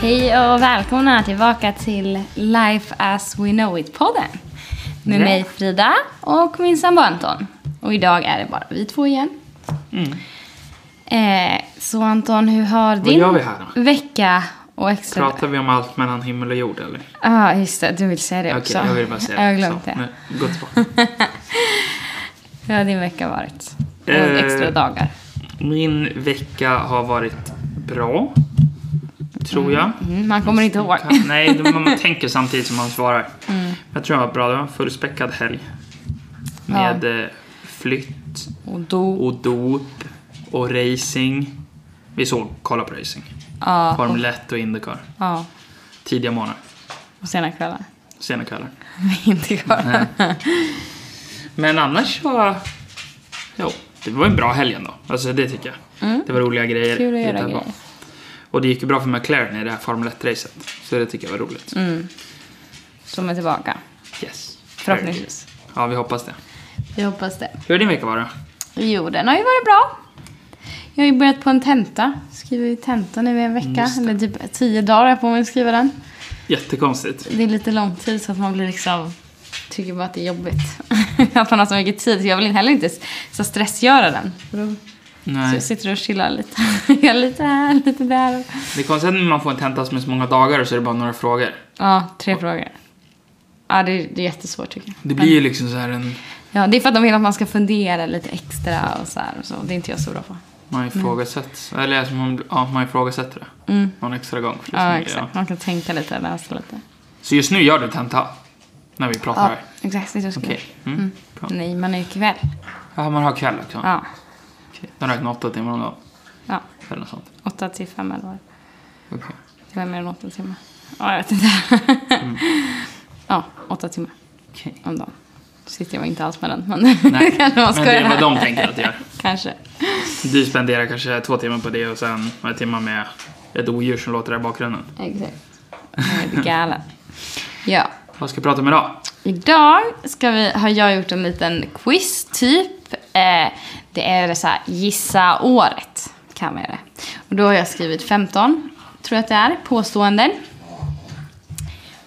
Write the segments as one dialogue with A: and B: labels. A: Hej och välkomna tillbaka till Life as we know it-podden. Med
B: Ja.
A: mig Frida och min sambo Anton. Och idag är det bara vi två igen.
B: Mm.
A: Eh, så Anton, hur har
B: gör vi här
A: din vecka och extra...
B: Pratar vi om allt mellan himmel och jord eller?
A: Ja, just det. Du vill säga det
B: Okej,
A: också.
B: jag vill bara säga
A: Jag har glömt
B: Så,
A: det.
B: nu, Gå tillbaka.
A: Hur har din vecka varit? Och
B: Eh.
A: extra dagar.
B: Min vecka har varit bra. Tror jag.
A: Mm, man kommer inte ihåg.
B: Kan- Nej, det- man tänker samtidigt som man svarar.
A: Mm.
B: Jag tror det var bra. Det var en fullspäckad helg. Med eh, flytt
A: Och då...
B: och dop och racing. Vi såg, kolla på racing.
A: Ja. och-
B: Formel 1 och Indycar.
A: Ja.
B: Tidiga morgnar,
A: Och sena kvällar.
B: sena kvällar.
A: inte kvar.
B: Men annars så... Jo, det var en bra helg ändå. Alltså det tycker jag. Det var roliga grejer.
A: Mm. Kul att göra
B: Hittade på.
A: grejer.
B: Och det gick ju bra för McLaren i det här Formel 1-racet. Så det tycker jag var roligt.
A: Mm. Som är tillbaka.
B: Yes.
A: Förhoppningsvis.
B: Ja, vi hoppas det.
A: Vi hoppas det.
B: Hur har din vecka varit?
A: Jo, den har ju varit bra. Jag har ju börjat på en tenta. Skriver ju tenta nu i en vecka. Eller typ tio dagar har jag på mig att skriva den.
B: Jättekonstigt.
A: Det är lite lång tid så att man blir liksom... Tycker bara att det är jobbigt. att man har så mycket tid. Så jag vill heller inte s- så stressgöra den. För då- Så
B: Nej.
A: jag sitter och chillar lite. Gör lite här, lite där.
B: Det är konstigt när man får en tenta som är så många dagar och så är det bara några frågor.
A: Ja, tre frågor. Ja, det är, det är jättesvårt tycker jag.
B: Det blir ju liksom så här en...
A: Ja, det är för att de vill att man ska fundera lite extra och så här och så. Det är inte jag så bra på.
B: Man ifrågasätts. Eller alltså man, ja, man ifrågasätter det. Någon extra gång. För det är så
A: Mm. Ja,
B: mycket,
A: exakt. Man kan tänka lite, läsa lite.
B: Så just nu gör du tenta? När vi pratar
A: Ja,
B: här?
A: exakt. Det är så jag ska
B: Okej. Mm. Bra.
A: göra. Nej, man är ju kväll.
B: Ja, man har kväll också.
A: Ja.
B: Okej. Den räknar åtta timmar om dagen.
A: ja.
B: Eller något sånt.
A: Åtta till fem eller vad det
B: Okej.
A: Det var mer än åtta timmar. Ja, jag vet inte. ja, åtta timmar
B: Mm. Okej.
A: om dagen. Sitter jag inte alls med den, men Nej, kanske man
B: Men det är
A: skojar.
B: vad de tänker att göra.
A: Kanske.
B: Du spenderar kanske två timmar på det och sen några timmar med ett odjur som låter där i bakgrunden.
A: Exakt. Jag är lite galen. Ja.
B: Vad ska vi prata om idag?
A: Idag ska vi, har jag gjort en liten quiz, typ. Eh, det är så här, gissa året, kan man göra. Och då har jag skrivit 15, tror jag att det är, påståenden.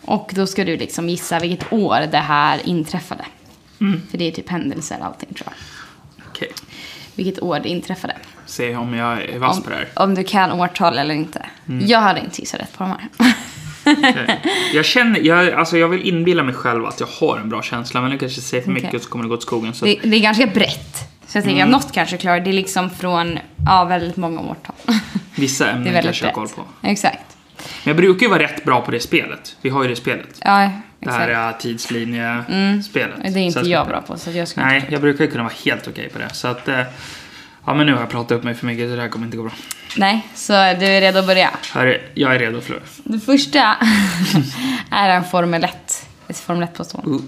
A: Och då ska du liksom gissa vilket år det här inträffade.
B: Mm.
A: För det är typ händelser och allting, tror jag.
B: Okej.
A: Vilket år det inträffade.
B: Se om jag är vass
A: Om,
B: på det här. Mm.
A: om du kan årtal eller inte. Jag hade inte gissat rätt på de här.
B: Okej. Jag känner, jag, alltså jag vill inbilla mig själv att jag har en bra känsla men jag kanske säger för mycket
A: Okej.
B: och så kommer det gå åt skogen. Så Mm.
A: Det, det är ganska brett. Så jag tänker att något kanske klarar det. är liksom från ja, väldigt många årtal.
B: vissa
A: Det är
B: ämnen
A: väldigt
B: Mm, kanske jag har
A: brett.
B: koll på.
A: Exakt.
B: Men jag brukar ju vara rätt bra på det spelet. Vi har ju det spelet.
A: Ja,
B: Det här äh,
A: exakt. Mm.
B: är tidslinjespelet.
A: Det är inte
B: Sällskapet.
A: jag bra på så jag skulle
B: Nej, jag brukar ju kunna vara helt okej på det. Så att, eh, ja men nu har jag pratat upp mig för mycket så det här kommer inte gå bra.
A: Nej, så du är redo att börja.
B: Hörru, jag är redo för det.
A: Det första är en Formel 1. Ett Formel 1-påstående.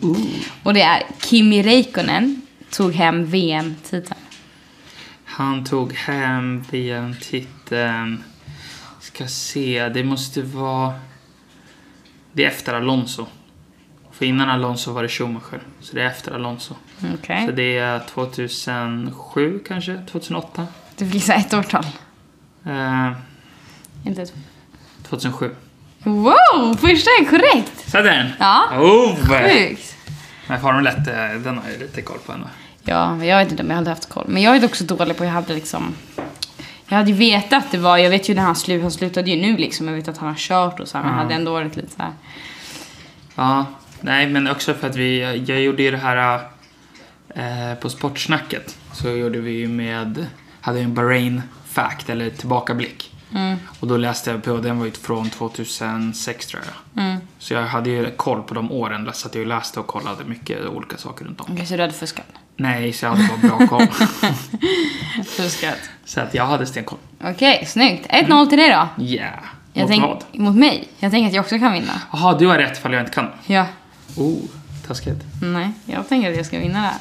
A: Och det är Kimi Räikkönen tog hem VM-titeln.
B: Han tog hem VM-titeln. Ska se, det måste vara... Det är efter Alonso. För innan Alonso var det Schumacher. Så det är efter Alonso.
A: Okej.
B: Så det är 2007 kanske? 2008?
A: Du fick gissa ett årtal.
B: Eh,
A: Inte ett.
B: 2007.
A: Wow! Första är korrekt!
B: Så den!
A: Ja.
B: Oh!
A: Sjukt!
B: Men Formel 1, eh, den har jag lite koll på ändå.
A: Ja, jag vet inte om jag hade haft koll. Men jag är också dålig på, jag hade liksom... Jag hade ju vetat det var, jag vet ju när han slutade, han slutade ju nu liksom. Jag vet att han har kört och så här, men jag hade ändå varit lite så här.
B: Ja, nej men också för att vi, jag gjorde ju det här eh, på sportsnacket. Så gjorde vi ju med, hade ju en Bahrain fact eller tillbakablick.
A: mm,
B: Och då läste jag på, och den var ju från 2006 tror jag.
A: mm.
B: Så jag hade ju koll på de åren, så att jag läste och kollade mycket olika saker runt om.
A: Okej, så du hade fuskat?
B: Nej, så jag hade bara bra koll.
A: Fuskat.
B: så att jag hade stenkoll.
A: Okej, snyggt. 1-0 till dig då.
B: Yeah!
A: Jag
B: Mot
A: tänk,
B: vad?
A: Mot mig. Jag tänker att jag också kan vinna.
B: Jaha, du har rätt ifall jag inte kan.
A: Ja.
B: Oh, taskigt.
A: Nej, jag tänker att jag ska vinna det här.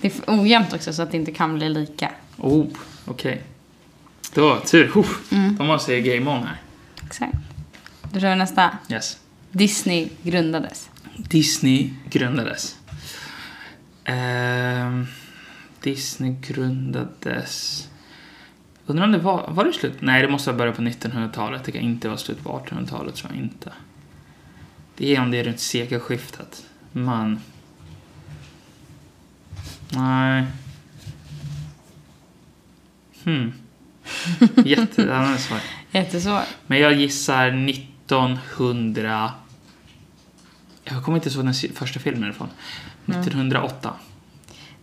A: Det är för ojämnt också så att det inte kan bli lika.
B: Oh, okej. Då, tur. Oh,
A: Mm.
B: De måste ju game on här.
A: Exakt. Då kör vi nästa.
B: Yes.
A: Disney grundades.
B: Disney grundades. Ehm, Disney grundades Undrar om det var, var det slut? Nej, det måste ha börjat på 1900-talet. Det kan inte vara slut på 1800-talet, tror jag inte. Det är om det är runt sekelskiftet. Man... Nej. Hmm. Jätte... ja, den är svår.
A: Jättesvår.
B: Men jag gissar 1900... Jag kommer inte ihåg den si- första filmen ifrån. Mm. 1908.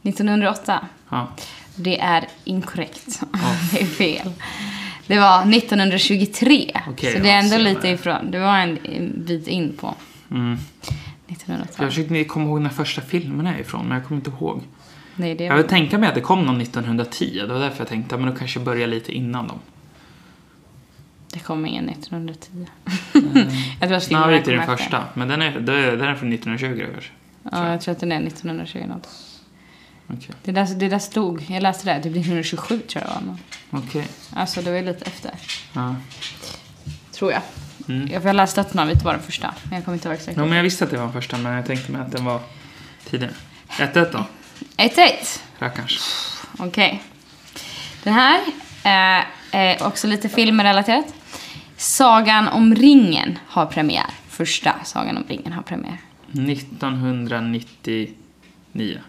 A: 1908.
B: Ja.
A: Det är inkorrekt. det är fel. Det var 1923.
B: Okej,
A: så det är
B: ja,
A: ändå
B: så
A: lite
B: det-
A: ifrån. Det var en en bit in på
B: Mm.
A: 1908.
B: Jag försökte komma ihåg när första filmen är ifrån, men jag kommer inte ihåg.
A: Nej, det
B: Jag
A: var...
B: vill tänka mig att det kom någon 1910. Det var därför jag tänkte, ja, men då kanske jag börjar lite innan dem.
A: Det kom ingen 1910. jag tror att filmerna
B: Snarare Mm. till den
A: kom efter.
B: första, men den är, den är den är från 1920 då kanske.
A: Ja, jag tror att den är 1920 något.
B: Okej.
A: Det där, det där stod, jag läste det, här, det blir 127 tror jag det var. men-
B: Okej.
A: Alltså det var ju lite efter,
B: Ja.
A: tror jag.
B: Mm.
A: Jag, för jag läste att namnet var den första, men jag kommer inte ihåg exakt.
B: ja, men jag visste att det var den första, men jag tänkte mig att den var tidigare. 1-1 då,
A: 1-1!
B: rackarns.
A: Okej. Den här eh, är också lite filmrelaterat. Sagan om ringen har premiär. Första Sagan om ringen har premiär.
B: 1999. Okej,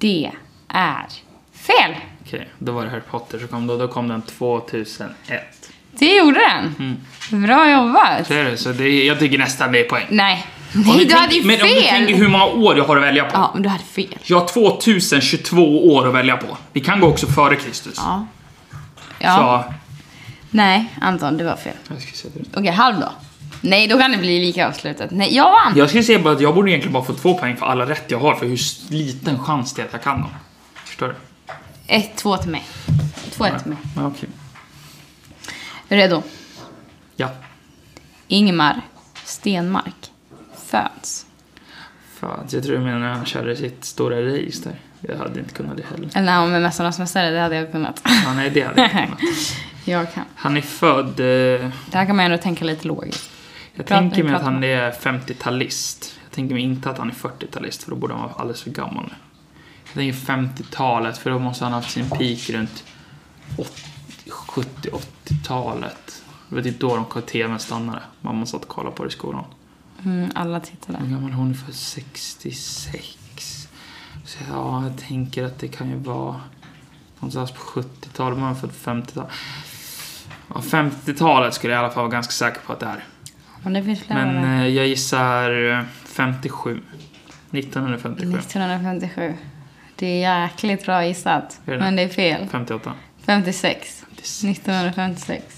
A: Det är fel!
B: då var det Harry Potter som kom då. Då kom den 2001.
A: Det gjorde den!
B: Mm.
A: Bra jobbat!
B: Så är det, så det, jag tycker nästan det är poäng.
A: Nej,
B: Om
A: Nej du
B: tänker-
A: hade ju
B: Men om du tänker
A: fel!
B: hur många år jag har att välja på.
A: Ja, men du hade fel.
B: Jag har 2022 år att välja på. Vi kan gå också före Kristus.
A: Ja. Ja. Nej, Anton, det var fel.
B: Så, jag skulle säga det.
A: Okej, halv då. Nej, då kan det bli lika avslutat. Nej, jag vann!
B: Jag skulle säga bara att jag borde egentligen bara få två poäng för alla rätt jag har för hur s- liten chans det är att jag kan dem. Förstår du?
A: Ett, två till mig. Två, ett till mig.
B: Ja, okej.
A: Redo?
B: Ja.
A: Ingmar Stenmark föds.
B: Fan, jag tror du menar när han körde sitt stora race där. Jag hade inte kunnat det heller.
A: Eller när han var med Mästarnas Mästare, det hade jag kunnat.
B: Ja, nej, det hade jag inte kunnat.
A: jag kan.
B: Han är född... Eh,
A: Det här kan man ändå tänka lite logiskt.
B: jag
A: Prata-
B: tänker mig att
A: prata
B: han är 50-talist. Jag tänker mig inte att han är 40-talist för då borde han vara alldeles för gammal nu. Jag tänker 50-talet för då måste han ha haft sin peak runt 70-80-talet. Det var typ då de tvn stannade. Mamma satt och kollade på det i skolan.
A: Mm, alla tittade.
B: Hur gammal är hon? För 66. Så ja, jag tänker att det kan ju vara någonstans på 70-talet. Man är född 50-talet. Ja, 50-talet skulle jag i alla fall vara ganska säker på att det är.
A: Men det finns flera.
B: Men
A: där.
B: eh, jag gissar eh, 57. 1957.
A: 1957. Det är jäkligt bra gissat.
B: Är det?
A: Men det är fel.
B: 58.
A: 56. 1956.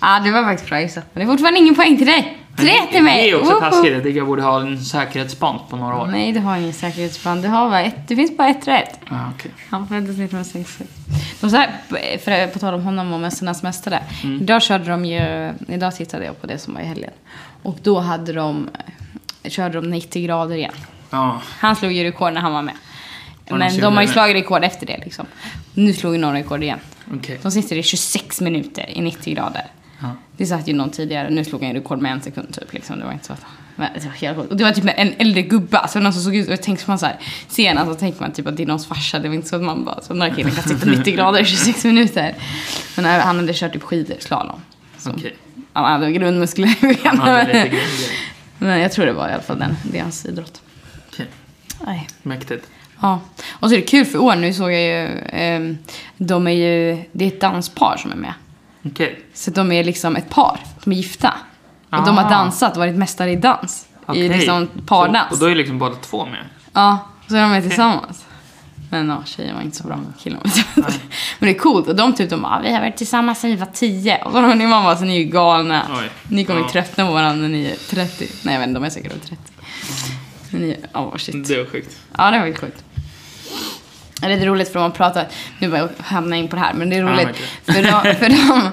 A: Ja, det var faktiskt bra gissat. Men det är fortfarande ingen poäng till dig. Tre till mig!
B: Det är också
A: Woho! Mm.
B: taskigt. Jag tycker jag borde ha en säkerhetsband på några år.
A: Nej, du har ingen säkerhetsband. Du har bara ett, det finns bara ett rätt.
B: Ah, okej.
A: Han föddes 1966. De så här, för, på tal om honom och Mästarnas Mästare. Idag körde de ju, idag tittade jag på det som var i helgen. Och då hade de, körde de 90 grader igen.
B: Ja,
A: Han slog ju rekord när han var med.
B: någon
A: Men
B: som
A: de
B: gjorde
A: har ju
B: det?
A: slagit rekord efter det liksom. Nu slog ju någon rekord igen.
B: okej.
A: De sitter i 26 minuter i 90 grader.
B: Ja.
A: Det satt ju någon tidigare, nu slog han ju rekord med en sekund typ. Liksom. Det var inte så att... Men det var helt sjukt. Och det var typ en äldre gubbe, alltså någon som såg ut, och tänkte man så här, sen alltså tänker man typ att det är någons farsa, det var inte så att man bara, så den här killen kan sitta 90 grader i 26 minuter. Men nej, han hade kört typ skidor, slalom. Så
B: Okej.
A: Han hade grundmuskler i benen.
B: Han hade lite grejer.
A: Men jag tror det var i alla fall den, det är hans idrott.
B: Okej.
A: Nej.
B: Mäktigt.
A: Ja, och så är det kul för i år nu såg jag ju, ehm, de är ju, det är ett danspar som är med.
B: Okej.
A: Så de är liksom ett par, de är gifta. Och de har
B: Ah.
A: dansat, varit mästare i dans. I
B: Okej.
A: liksom
B: Så, och
A: pardans.
B: då är liksom båda två med.
A: Ja, så de är tillsammans. Men ja, tjejen var inte så bra. Killen var lite bättre. Men det är coolt. Och de typ, de bara, vi har varit tillsammans sedan vi var 10. Och så har ni mamma, så ni är ju galna.
B: Oj.
A: Ni kommer ju
B: Ja.
A: tröttna på varandra när ni är 30. Nej, jag vet inte, de är säkert över 30. Men ni, ja shit.
B: Det var sjukt.
A: Ja, det var ju sjukt. Det är lite roligt för de pratar, nu bara hamnar jag in på det här, men det är
B: Ja,
A: roligt. för, de, för, de,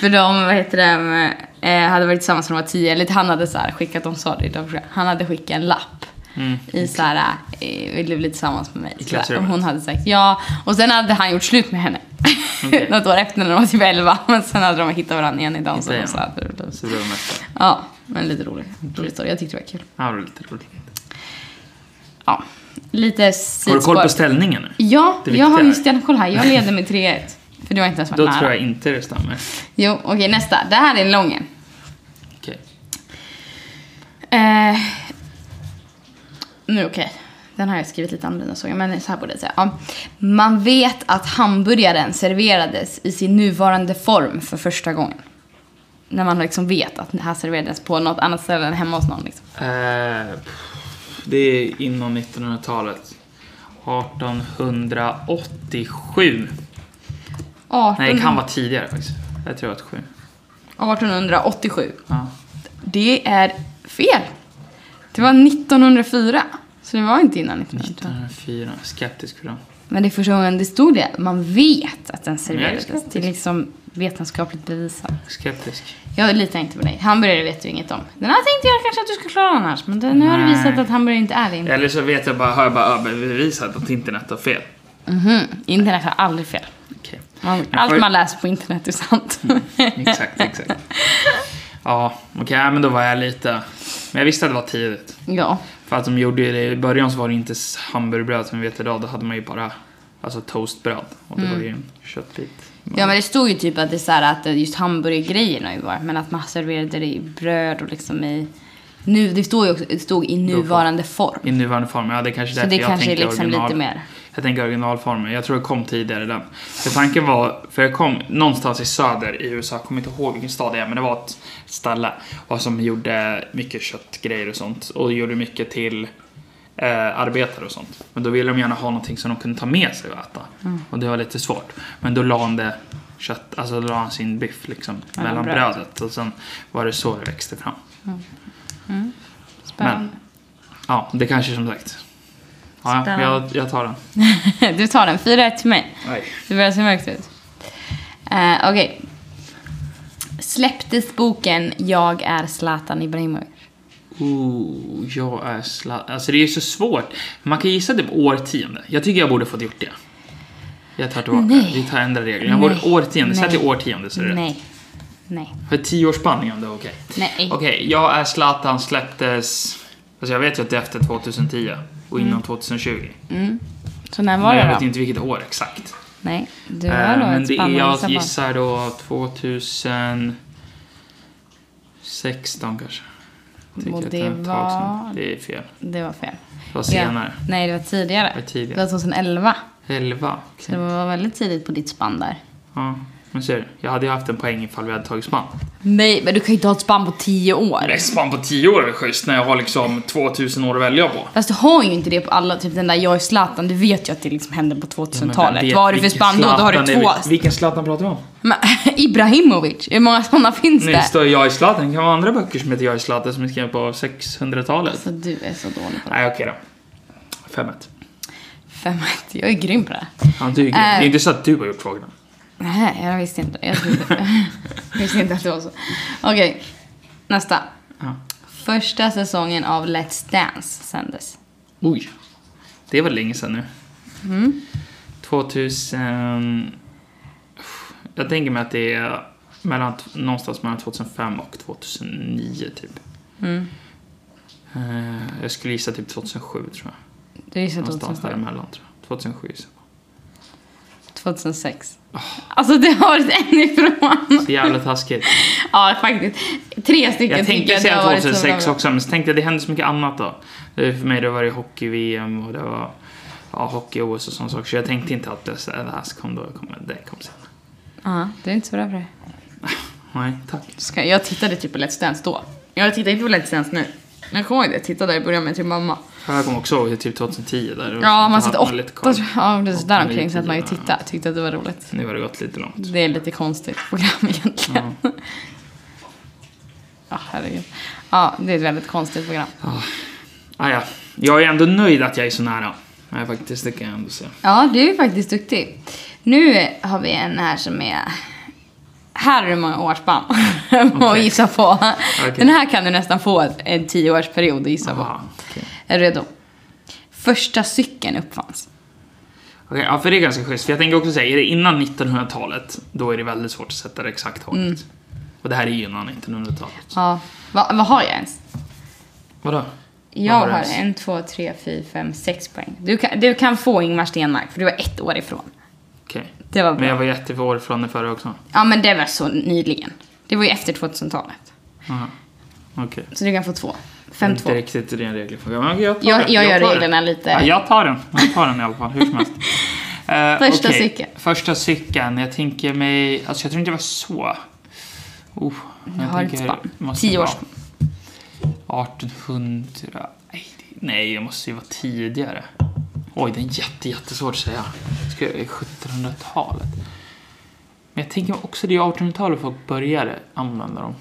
A: för de, vad heter det, eh, hade varit tillsammans när de var tio, eller han hade så här skickat, de sa det, de, han hade skickat en lapp.
B: Mm.
A: I så här, eh, vill du bli tillsammans med mig? Så där. Och
B: klassrummet.
A: hon hade sagt ja. Och sen hade han gjort slut med henne.
B: Okej.
A: Något år efter när de var typ elva. Men sen hade de hittat varandra igen i dansen.
B: Hittade
A: Och så
B: igen.
A: hade det blivit.
B: Så blev de mästare.
A: Ja, men lite rolig, rolig story. Jag tyckte det var kul.
B: Ja, det var lite roligt.
A: Ja, lite
B: Har du koll
A: sidospår.
B: på ställningen nu?
A: Ja,
B: Det
A: jag har
B: viktiga
A: ju
B: är-
A: stenkoll här. Jag leder med 3-1. För du har inte ens varit
B: Då
A: nära.
B: tror jag inte det stämmer.
A: Jo, okej nästa. Det här är lången.
B: Okej.
A: Eh, nu okej. Den har jag skrivit lite annorlunda såg jag, men så här borde jag säga. Ja. Man vet att hamburgaren serverades i sin nuvarande form för första gången. När man liksom vet att det här serverades på något annat ställe än hemma hos någon. Liksom.
B: Eh, det är inom 1900-talet. 1887. Nej, det kan vara tidigare faktiskt. Jag tror att sju.
A: 1887.
B: Ja.
A: Det är fel. Det var 1904. Så det var inte innan 1900.
B: 1904. Skeptisk för dem.
A: Men det är första gången det stod det. Man vet att den serverades.
B: skeptisk.
A: Det är liksom vetenskapligt bevisat.
B: Skeptisk.
A: Jag litar inte på dig. Hamburgare vet du inget om. Den här tänkte jag kanske att du skulle klara annars. Men det- nu har du
B: Nej.
A: visat att hamburgare inte är din.
B: Eller så vet jag bara, har jag bara överbevisat att internet har fel.
A: Mhm. Internet har aldrig fel.
B: Okej.
A: Man,
B: Jag får-
A: allt man läser på internet är sant.
B: Exakt, exakt. Ja, okej, ja, men då var jag lite... Men jag visste att det var tidigt.
A: ja.
B: För att de gjorde ju det, i början så var det inte hamburgerbröd som vi vet idag, då hade man ju bara alltså toastbröd. Och det var ju en köttbit.
A: ja, men det stod ju typ att det är så här att just hamburgergrejerna ju var. Men att man serverade det i bröd och liksom i... Nu, det stod ju också, det stod i nuvarande form.
B: I nuvarande form, ja det är kanske
A: Så
B: därför
A: det
B: jag
A: kanske är
B: tänker
A: liksom
B: original.
A: lite mer.
B: Jag tänker originalformen, jag tror det kom tidigare den. För tanken var, för jag kom någonstans i söder i USA, jag kommer inte ihåg vilken stad det är, men det var ett ställe och som gjorde mycket köttgrejer och sånt och gjorde mycket till eh, arbetare och sånt. Men då ville de gärna ha någonting som de kunde ta med sig och äta.
A: Mm.
B: Och det var lite svårt. Men då la han det kött, alltså då la han sin biff liksom mellan
A: bröd.
B: brödet och sen var det så det växte fram.
A: Spännande.
B: Ja, det kanske är som sagt. Ja, ja,
A: Spännande.
B: jag, jag tar den.
A: du tar den. 4-1 till mig.
B: Nej.
A: Det börjar se mörkt ut. Eh, Okej. Släpptes boken Jag är Zlatan Ibrahimovic?
B: Ooh, jag är sladd. Alltså det är ju så svårt. Man kan gissa typ årtionde. Jag tycker jag borde fått gjort det. Jag tar tillbaka.
A: Nej.
B: Vi tar ändra regler. Jag borde
A: Nej.
B: årtionde. Säg
A: Nej.
B: till årtionde så är det rätt.
A: Nej. Nej.
B: För tioårsspanning om det är okej.
A: Nej.
B: Okej, jag är Zlatan släpptes... Alltså jag vet ju att det är efter 2010 och innan 2020.
A: Så när Mm. var
B: Men jag
A: det
B: vet
A: då?
B: inte vilket år exakt.
A: Nej. Du
B: Eh,
A: har då
B: men
A: ett
B: det är,
A: spann
B: jag
A: att gissa på.
B: gissar då 2016 kanske. Tycker
A: Och
B: att
A: det
B: är ett tag sedan.
A: var-
B: Det är fel.
A: Det var fel.
B: Det var senare.
A: Ja. Nej, det var tidigare.
B: Det var tidigare.
A: Det var 2011.
B: 11.
A: Så det var väldigt tidigt på ditt spann där.
B: Ja, men ser du. Jag hade ju haft en poäng ifall vi hade tagit spann.
A: Nej, men du kan ju inte ha ett spann på 10 år.
B: Nej, spann på 10 år är väl schysst när jag har liksom 2000 år att välja på.
A: Fast du har ju inte det på alla, typ den där jag är Zlatan, du vet ju att det liksom hände på
B: Men
A: 2000-talet.
B: vem vet
A: Vad har du för
B: vilken
A: spann då? Då har du
B: Zlatan
A: två.
B: är vi- Vilken Zlatan pratar vi om?
A: Men, Ibrahimovic, hur många sådana finns
B: Nej,
A: det?
B: det står Jag i Zlatan. Det kan vara andra böcker som heter Jag i Zlatan som är skrivna på 600-talet.
A: Så Alltså, du är så dålig på det.
B: Nej, okej då. 5-1.
A: Fem, jag är grym på det.
B: Ja, du, är grym. det är inte så att du har gjort frågorna.
A: Nej, jag visste inte. Jag trodde- jag visste inte att det var så. Okej, nästa.
B: Ja.
A: Första säsongen av Let's Dance sändes.
B: Oj. Det var länge sedan nu. Mm. 2000... Jag tänker mig att det är mellan, någonstans mellan 2005 och 2009 typ. Eh, Jag skulle gissa typ 2007 tror jag.
A: Du gissade
B: Någonstans
A: 2007.
B: däremellan tror jag. 2007 gissar jag.
A: 2006. Alltså det har varit en ifrån.
B: Så jävla taskigt.
A: Ja, faktiskt. Tre stycken
B: Jag
A: tycker
B: tänker
A: det
B: säga
A: har varit så
B: 2006
A: bra.
B: också men så tänkte jag det hände så mycket annat då. Det, för mig då var det hockey-VM och det var ja, hockey-OS och sådana saker. Så jag tänkte inte att det, det här kom då, kom, det kom sen.
A: Ja, du är inte så bra på det.
B: Nej, tack.
A: Ska, jag tittade typ på Let's Dance då. Jag tittar inte på Let's Dance nu. Jag kommer ihåg det, jag tittade i början med till mamma.
B: Jag kommer också ihåg det, typ 2010 där.
A: Ja, man satt
B: hade
A: åtta,
B: lite koll.
A: tror jag. ja, precis, där
B: Åtta, nio,
A: omkring så att man ju
B: tio, ja.
A: tittade, tyckte att det var roligt.
B: Nu har det gått lite långt.
A: Det är lite konstigt program egentligen. Ja, herregud. Ja, det är ett väldigt konstigt program.
B: Ah, ja. Jag är ändå nöjd att jag är så nära. Nej, faktiskt, det kan jag ändå säga.
A: Ja, du är faktiskt duktig. Nu har vi en här som är... Här är det många årsspann att
B: Okej.
A: gissa på.
B: Okej.
A: Den här kan du nästan få en tioårsperiod att gissa på.
B: Jaha, Ah, okej.
A: Är du redo? Första cykeln uppfanns.
B: Okej, ja, för det är ganska schysst. För jag tänker också säga, är det innan 1900-talet, då är det väldigt svårt att sätta det exakt hårt.
A: Mm.
B: Och det här är ju innan 1900-talet.
A: Ja. Va, vad har jag ens?
B: Vadå?
A: Jag
B: Vad var det
A: har
B: ens?
A: en, två, tre, fyra, fem, sex poäng. Du kan, du kan få Ingmar Stenmark, för du var ett år ifrån.
B: Okej.
A: Det var bra.
B: Men jag var jättefår från det förra också.
A: Ja, men det var så nyligen. Det var ju efter 2000-talet.
B: Aha. Okej.
A: Så du kan få två.
B: Det är Inte
A: 5-2.
B: riktigt din regelfråga. Men jag, tar
A: Jag-
B: den.
A: jag gör
B: tar den.
A: reglerna lite-
B: Ja, jag tar den. Jag tar den i alla fall. Hur som helst. Eh,
A: Första
B: okej.
A: cykeln.
B: Första cykeln. Jag tänker mig... Alltså jag tror inte det var så. Oh,
A: Jag har ett
B: tänker-
A: spann.
B: måste
A: Tio
B: vara
A: års-
B: 1800... Nej, det- Nej, jag måste ju vara tidigare. Oj, det är jätte, jättesvårt att säga. Ska jag- 1700-talet. Men jag tänker också det är 1800-talet folk började använda dem.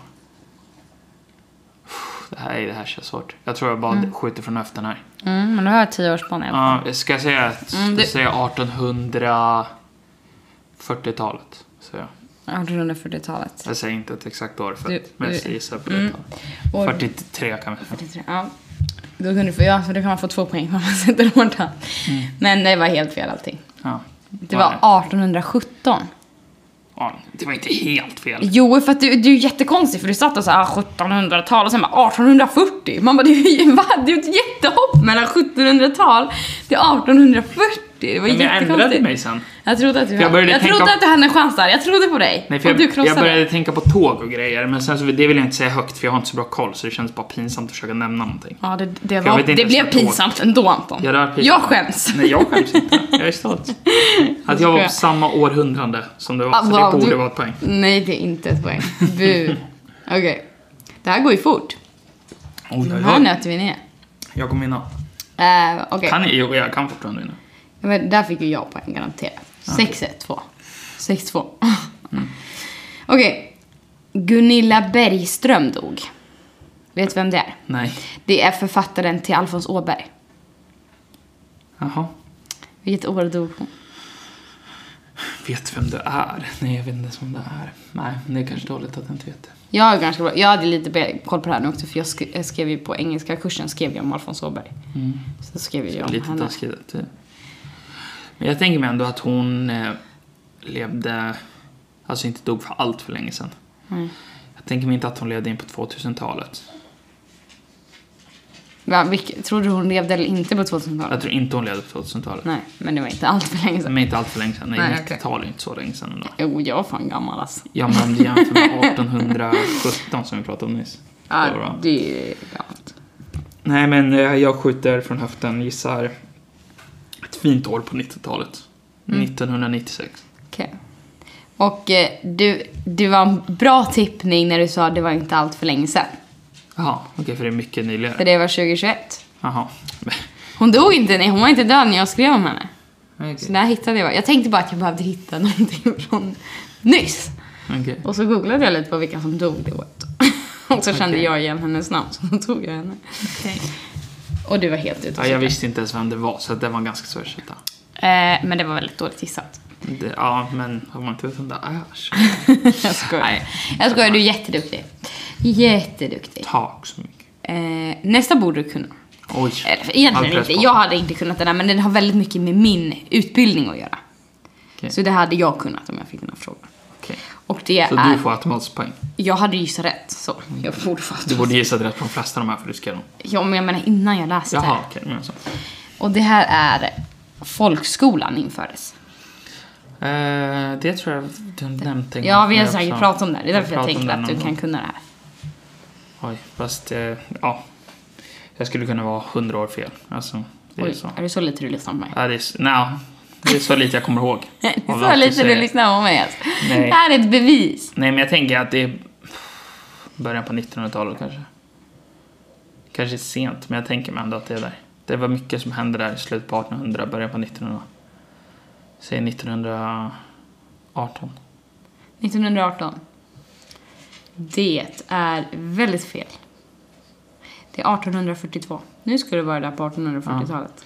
B: Uff, Det här, är- det här känns svårt. Jag tror jag bara skjuter från höften här.
A: Mm, men du har jag tio års barn i alla fall.
B: Ja, jag ska säga,
A: Mm,
B: ska
A: det-
B: säga 1840-talet. Så jag.
A: 1840-talet.
B: jag säger inte ett exakt år för
A: Du-
B: att, men
A: du-
B: jag gissar på det
A: Mm.
B: talet.
A: Och
B: 43 kan vi säga.
A: 43, ja. Då, kunde du få, ja, så då kan man få två poäng om man sätter hårda.
B: Mm.
A: Men det var helt fel allting.
B: Ja.
A: Det var 1817.
B: Ja, det var inte helt fel.
A: Jo, för att du, du är ju jättekonstig för du satt och sa ah, 1700-tal och sen bara 1840. Man bara, det är ju va? Det är ju ett jättehopp mellan 1700-tal till 1840. Det var
B: Men jag ändrade
A: jättekonstigt.
B: mig sen.
A: Jag trodde att du,
B: jag började
A: jag
B: tänka
A: trodde
B: om-
A: att du hade en chans där. Jag trodde på dig.
B: Nej, för
A: och du
B: jag, jag
A: krossade.
B: började tänka på tåg och grejer, men sen så, det vill jag inte säga högt för jag har inte så bra koll så det känns bara pinsamt att försöka nämna någonting.
A: Ja, det, det,
B: Jag
A: var,
B: vet inte
A: det
B: ens
A: blev
B: vad tåg-
A: pinsamt ändå Anton.
B: Ja, det var pinsamt.
A: jag skäms.
B: Nej, jag skäms inte. Jag är stolt. Att jag var på samma århundrade som du var, så
A: Ah, wow,
B: det borde
A: du-
B: vara ett poäng.
A: Nej, det är inte ett poäng. Bu. Okej. Det här går ju fort.
B: Oj,
A: Den
B: oj,
A: här
B: oj.
A: nöter vi ner.
B: Jag kommer vinna.
A: Uh, Okej.
B: Kan jag? Jo, jag kan fortfarande vinna.
A: Ja, Men där fick ju jag poäng garanterat. 6-1-2. 6-2.
B: Mm.
A: Okej. Gunilla Bergström dog. Vet du vem det är?
B: Nej.
A: Det är författaren till Alfons Åberg.
B: Jaha.
A: Vilket år dog hon?
B: Vet vem du är? Nej, jag vet inte ens vem det är. Nej, det är kanske dåligt att jag inte vet det.
A: Jag är ganska bra. Jag hade lite be- koll på det här nu också för jag sk- jag skrev ju på engelska kursen skrev jag om Alfons Åberg. Så skrev jag om
B: Mm. Lite
A: henne.
B: taskigt att det- Men jag tänker mig ändå att hon eh, levde, alltså inte dog för allt för länge sedan. Mm. Jag tänker mig inte att hon levde in på 2000-talet.
A: Va, vilk- tror du hon levde eller inte på 2000-talet?
B: Jag tror inte hon levde på 2000-talet.
A: Nej, men det var inte allt för länge sedan.
B: Men inte allt för länge sedan. Nej,
A: Nej,
B: 90-tal är inte så länge sedan ändå.
A: Jo, jag är fan gammal alltså.
B: Ja, men om du jämför med 1817 som vi pratade om nyss. Det var
A: Ja,
B: bra.
A: det är gammalt.
B: Nej, men eh, jag skjuter från höften, gissar ett fint år på 90-talet.
A: Mm.
B: 1996.
A: Okej. Och eh, du, du var en bra tippning när du sa att det var inte allt för länge sedan.
B: Jaha, okej, för det är mycket
A: För
B: nyligare.
A: det var 2021.
B: Jaha.
A: Hon dog inte, nej, hon var inte död när jag skrev om henne.
B: Okej.
A: Så där hittade jag. Jag tänkte bara att jag behövde hitta någonting från nyss.
B: Okej.
A: Och så googlade jag lite på vilka som dog det året. Och så kände
B: Okej.
A: jag igen hennes namn, så då tog jag henne. Och du var helt ute och
B: Ja, jag
A: cyklade.
B: visste inte ens vem det var, så det var ganska svårt att hitta.
A: eh, Men det var väldigt dåligt gissat.
B: Det, ja, men har man inte vet vem det Ah, är så
A: jag skojar.
B: Nej.
A: Jag skojar, du är jätteduktig. Jätteduktig.
B: tack så mycket.
A: Eh, nästa borde du kunna.
B: Oj.
A: Eller
B: all
A: egentligen
B: press
A: inte.
B: på.
A: Jag hade inte kunnat den här men den har väldigt mycket med min utbildning att göra.
B: Okej.
A: Så det hade jag kunnat om jag fick den här frågan.
B: Okej.
A: Och det
B: Så
A: är...
B: du får automatiskt poäng.
A: Jag hade gissat rätt så. Jag borde fått...
B: Du borde gissa rätt på de flesta av de här för du ska dem.
A: Ja men jag menar innan jag läste.
B: Jaha, okej. men så.
A: Och det här är folkskolan infördes.
B: Eh, det tror jag du nämnde. en
A: Ja vi har
B: gång, men jag
A: säkert
B: sa-
A: pratat om det här. Det är
B: jag
A: därför jag
B: pratade om
A: tänker
B: den
A: att du
B: någon
A: kan
B: gång.
A: kunna det här.
B: Oj, fast eh, ja. Jag skulle kunna vara hundra år fel. Alltså, det är
A: Oj,
B: så.
A: är det så lite du lyssnar på mig?
B: Ja, det är, s- nja, det är så lite jag kommer ihåg.
A: Det är
B: Av allt
A: så lite du
B: säger.
A: lyssnar på mig alltså.
B: Nej.
A: Det här är ett bevis.
B: Nej, men jag tänker att det är början på 1900-talet kanske. Kanske sent, men jag tänker mig ändå att det är där. Det var mycket som hände där i slutet på 1800, början på 1900. Säg 1918.
A: 1918. Det är väldigt fel. Det är 1842. Nu skulle det vara där på 1840-talet.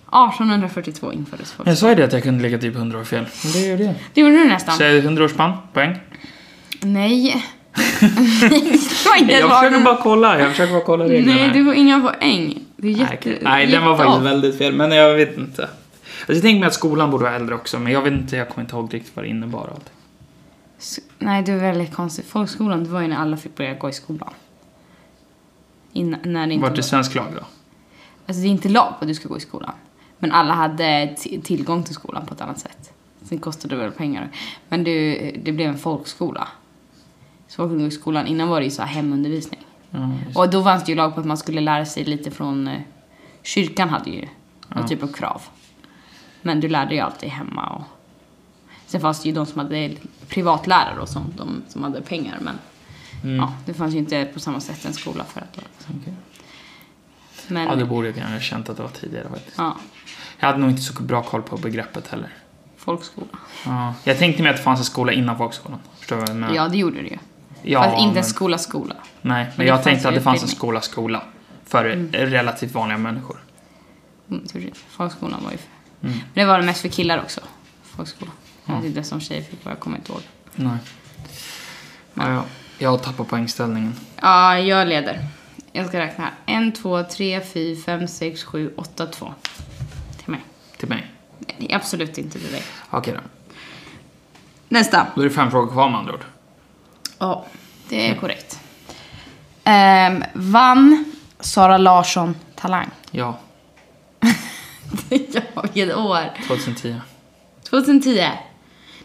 A: 1842 infördes folk.
B: Jag sa ju det att jag kunde lägga typ 100 år fel. Men det gör det.
A: Det gjorde du nästan.
B: Säg 100 årsspann, poäng.
A: Nej. det var inte
B: Jag
A: bra.
B: försöker bara kolla, jag försöker bara kolla reglerna.
A: Nej,
B: här.
A: du får inga poäng. Du är
B: Nej,
A: jätte...
B: okej. Nej, den var
A: jätte-
B: faktiskt väldigt fel, men jag vet inte. Alltså, jag tänker mig att skolan borde vara äldre också, men jag vet inte, jag kommer inte ihåg riktigt vad det innebar. och Allting.
A: S- Nej, du är väldigt konstig. Folkskolan, det var ju när alla fick börja gå i skolan. Innan, när det inte
B: Vart det svensk lag då?
A: Alltså det är inte lag på att du ska gå i skolan. Men alla hade t- tillgång till skolan på ett annat sätt. Sen kostade det väl pengar. Men det, det blev en folkskola. Så folkhögskolan, innan var det ju så här hemundervisning.
B: Ja, just-
A: Och då fanns det ju lag på att man skulle lära sig lite från... eh, Kyrkan hade ju någon typ av krav. Men du lärde ju alltid hemma och... Sen fanns det ju de som hade privatlärare och sånt, de som hade pengar men... Ja, det fanns ju inte på samma sätt en skola för att...
B: mm. okej.
A: Men,
B: ja, det borde jag kanske ha känt att det var tidigare faktiskt.
A: ja,
B: Jag hade nog inte så bra koll på begreppet heller.
A: folkskola.
B: Ja. Jag tänkte mig att det fanns en skola innan folkskolan. Förstår du vad jag menar?
A: Ja, det gjorde det ju.
B: Ja,
A: Fast inte en
B: men-
A: skola skola.
B: Nej, men,
A: Men det
B: jag
A: fanns
B: tänkte
A: ju
B: att det fanns en
A: utbildning.
B: skola skola för relativt vanliga människor.
A: Mm, tror jag. Folkskolan var ju för...
B: Mm.
A: Men det var det mest för killar också. Folkskola. Jag vet inte som tjejer fick vad jag kommer inte ihåg.
B: Nej. Ja, ja. Jag tappar poängställningen.
A: Ja, jag leder. Jag ska räkna här. 1, 2, 3, 4, 5, 6, 7, 8, 2. Till mig.
B: Till mig.
A: Nej, det är absolut inte till dig.
B: Okej då.
A: Nästa.
B: Då är det fem frågor kvar med andra ord.
A: Ja, det är korrekt. Ehm, vann Sara Larsson Talang?
B: Ja,
A: ja, vilket år.
B: 2010.
A: 2010.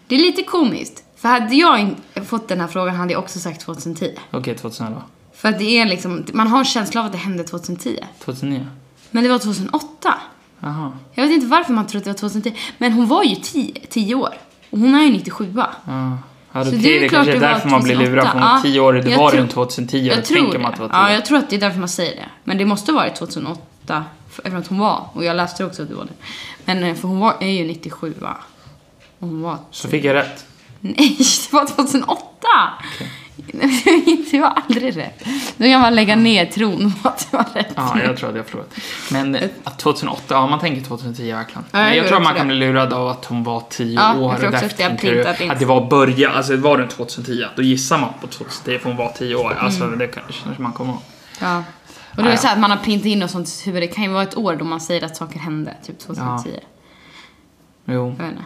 A: Det är lite komiskt. För hade jag in- fått den här frågan hade jag också sagt 2010.
B: Okej, 2011.
A: För att det är liksom, man har en känsla av att det hände 2010.
B: 2009.
A: Men det var 2008.
B: Jaha.
A: Jag vet inte varför man trodde att det var 2010. Men hon var ju 10, 10 år. Och hon är ju 97
B: Ja. Ja, då-
A: Så det är
B: det är
A: klart
B: kanske
A: det var
B: därför man blir
A: 2008.
B: lurad. För
A: Ja,
B: om tio år, det
A: jag
B: var
A: tror-
B: runt 2010. då
A: jag tror
B: tänker
A: det.
B: man att det var
A: ja,
B: 10.
A: jag tror att det är därför man säger det. Men det måste ha varit 2008. för- Eftersom att hon var. Och jag läste också att det var det. Men eh, för hon var, är ju 97 va? Och hon var...
B: Så fick jag rätt.
A: Nej, det var 2008! det var aldrig rätt. Då kan man lägga ner tron på att det var rätt.
B: Ja, jag tror att jag förlorat. Men eh, att 2008, ja man tänker 2010 verkligen.
A: Ja, jag
B: Men jag
A: gör
B: tror att man
A: också
B: kan
A: det.
B: bli lurad av att hon var 10
A: Ja, jag
B: år.
A: tror
B: och
A: också
B: därför
A: att det har
B: tänker du
A: printat in
B: Att det var början, alltså var runt 2010. Då gissar man på 2010 för hon var 10 år. Alltså
A: Mm.
B: det kanske man kommer ihåg.
A: Ja. Och det är
B: Ja,
A: så här att man har printat in något sånt i sitt huvud. Det kan ju vara ett år då man säger att saker hände. Typ 2010.
B: Jo.
A: Jag vet inte.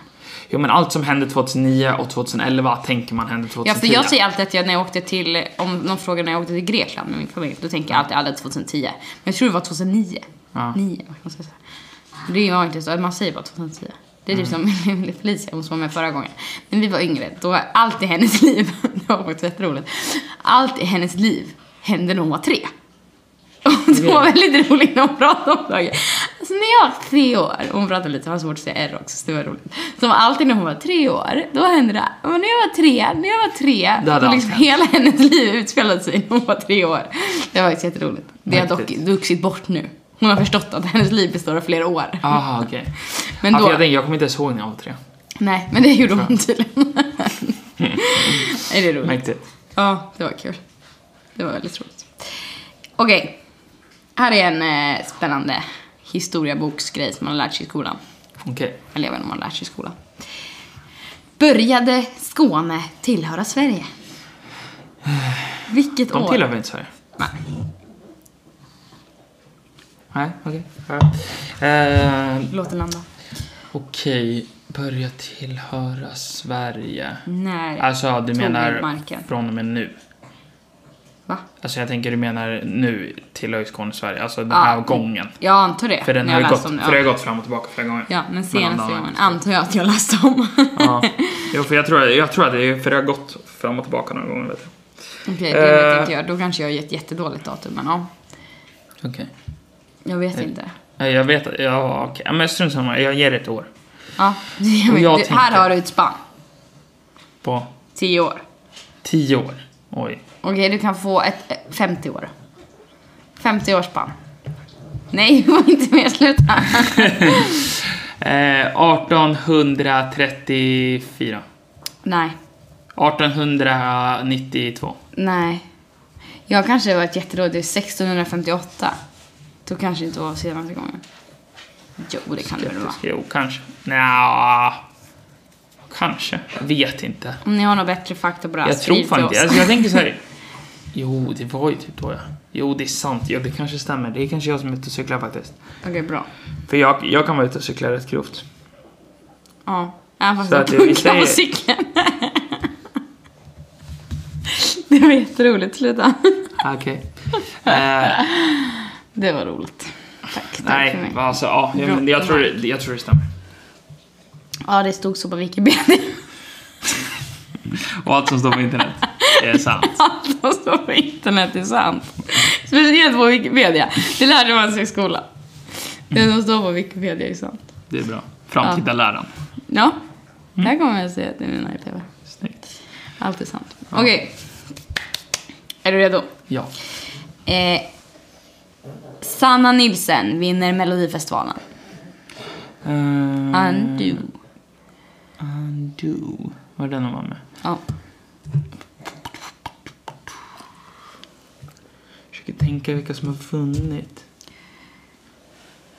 B: jo, men allt som hände 2009 och 2011 tänker man hände 2010.
A: Ja, för jag säger alltid att jag, när jag åkte till, om någon frågar när jag åkte till Grekland med min familj, då tänker jag alltid alla 2010. Men jag tror det var 2009.
B: Ja.
A: 9, vad kan man säga så? Det var inte så, man säger bara 2010. Det är typ som Felicia, hon som var med förra gången. När vi var yngre, då var allt i hennes liv, det var faktiskt jätteroligt, allt i hennes liv hände när hon var tre. Och det var väldigt roligt när hon pratade om saker. Alltså när jag var tre år, och hon pratade lite, det var svårt att säga R också, så det var roligt. Så alltid när hon var tre år, då hände det, men när jag var tre, när jag var tre,
B: Det hade
A: och liksom
B: allt hänt.
A: hela hennes liv utspelade sig när hon var tre år. Det var faktiskt jätteroligt. Det har dock
B: Mäktigt.
A: vuxit bort nu. Hon har förstått att hennes liv består av flera år.
B: Aha, Ah, okej.
A: Men
B: Ja, för
A: då- Mm.
B: jag, tänkte, jag kommer inte ens ihåg när jag var tre.
A: Nej, men det gjorde hon tydligen. är det roligt?
B: Mäktigt.
A: Ja, det var kul. Det var väldigt roligt. Okej. Här är en eh, spännande historieboksgrej som man har lärt sig i skolan.
B: Okej.
A: Eller jag vet inte om man har lärt sig i skolan. Började Skåne tillhöra Sverige? Vilket
B: De
A: år?
B: tillhör väl inte Sverige?
A: Nej.
B: Nej, okej. Ja. Eh,
A: Låt den landa.
B: Okej, börja tillhöra Sverige.
A: Nej.
B: Alltså du
A: Tog
B: menar
A: med marken.
B: från och med nu?
A: Va?
B: Alltså jag tänker du menar nu tillhör Skåne Sverige, alltså den
A: Ja.
B: här gången.
A: Jag antar det.
B: För den
A: när
B: har
A: jag
B: ju gått,
A: läste om det.
B: för det har gått fram och tillbaka flera gånger.
A: Ja, men senaste
B: andra-
A: gången antar jag att jag läste om.
B: Ja. Jo, för jag tror, jag tror att det är, för det har gått fram och tillbaka några gånger vet jag.
A: Okej, det vet
B: Eh.
A: inte jag. Då kanske jag har ett jättedåligt datum, men ja.
B: Okej.
A: Jag vet
B: Eh.
A: inte.
B: Nej, Jag vet, ja okej. Men strunt samma, jag ger det ett år.
A: Ja,
B: Och jag
A: det, här
B: tänker-
A: har du ett spann.
B: På
A: 10 år.
B: tio år. Oj.
A: Okej, du kan få ett eh, 50 år. 50 års spann. Nej, var inte med. Sluta.
B: Eh, 1834.
A: Nej,
B: 1892.
A: nej. Jag kanske var ett jättedåligt. Det är 1658. Då kanske inte var senaste gången. Jo, det kan det väl vara.
B: Jo, kanske. Nja, kanske. Jag vet inte.
A: Om ni har något bättre fakta bara
B: Jag tror
A: skriv
B: fan
A: till
B: inte.
A: oss.
B: Alltså, jag tänker så här. Jo, det var ju typ då ja. Jo, det är sant. Ja, det kanske stämmer. Det är kanske jag som är ute och cyklar faktiskt.
A: Okej, bra.
B: För jag, jag kan vara ute och cykla rätt grovt.
A: Ja, även fast
B: Så
A: jag
B: att vi
A: punkar på
B: säger-
A: cykeln. Det var jätteroligt, sluta.
B: Okej. Eh,
A: Det var roligt. Tack, tack för
B: nej,
A: mig.
B: alltså ja. Jag, men jag, tror, det- jag tror det stämmer.
A: Ja, det stod så på Wikipedia.
B: Och allt som står på internet är sant.
A: Allt som står Alltså, på internet är sant. Speciellt på Wikipedia. Det lärde man sig i skolan. Det som står på Wikipedia är sant.
B: Det är bra. Framtida läran.
A: Ja, det här kommer jag säga till mina elever.
B: Snyggt.
A: Allt är sant. Okej. Är du redo?
B: Ja.
A: Eh, Sanna Nilsen vinner Melodifestivalen.
B: Uh,
A: Undo.
B: Undo. Var det den hon var med?
A: Ja.
B: Försöker tänka vilka som har vunnit.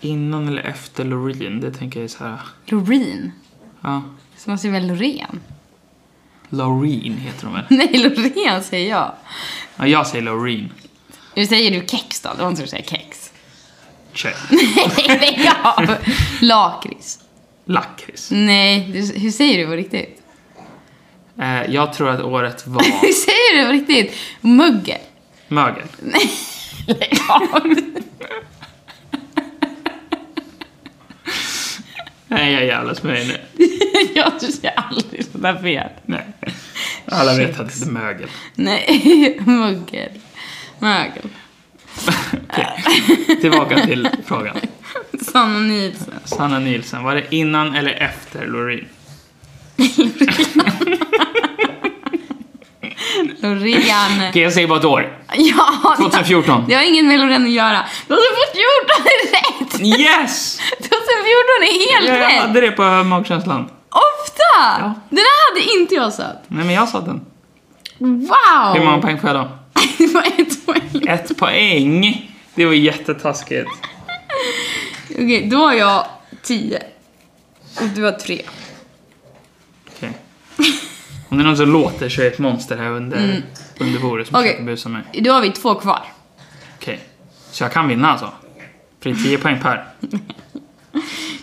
B: Innan eller efter Loreen, det tänker jag är så här.
A: Loreen.
B: Ja.
A: Så man säger väl Loreen?
B: Loreen heter hon väl?
A: Nej, Loreen säger jag.
B: Ja, jag säger Loreen.
A: Nu säger du kex då. Det var inte så du säger kex.
B: Check.
A: Nej, det är jag. Lakrits.
B: Lakrits.
A: Nej, du, hur säger du på riktigt?
B: Eh, jag tror att året var
A: Hur säger du på riktigt? Mögel.
B: mögel.
A: Lägg av.
B: Nej, jag är jävla smörig nu.
A: Jag säger aldrig sådär fel.
B: Nej. Alla vet
A: Shit.
B: att det heter mögel.
A: Nej, mögel. Mögel.
B: Okej, Tillbaka till frågan.
A: Sanna Nilsson.
B: Sanna Nilsson, var det innan eller efter Loreen?
A: Loreen.
B: Okej, jag säger bara ett år.
A: Ja,
B: 2014.
A: Det har inget med Loreen att göra. 2014 är rätt!
B: Yes!
A: 2014 är helt
B: Jag
A: rätt!
B: hade det på magkänslan.
A: Ofta!
B: Ja.
A: Den här hade inte jag satt.
B: Nej, men jag sa den.
A: Wow!
B: Hur många poäng får jag då?
A: Det var ett poäng.
B: Ett poäng! Det var jättetaskigt.
A: Okej, då har jag tio. Och du har tre.
B: Okej. Om det är någon som låter så är det ett monster här under, under bordet som
A: Okej.
B: försöker busa mig.
A: Då har vi två kvar.
B: Okej. Så jag kan vinna alltså? För det är 10 poäng per.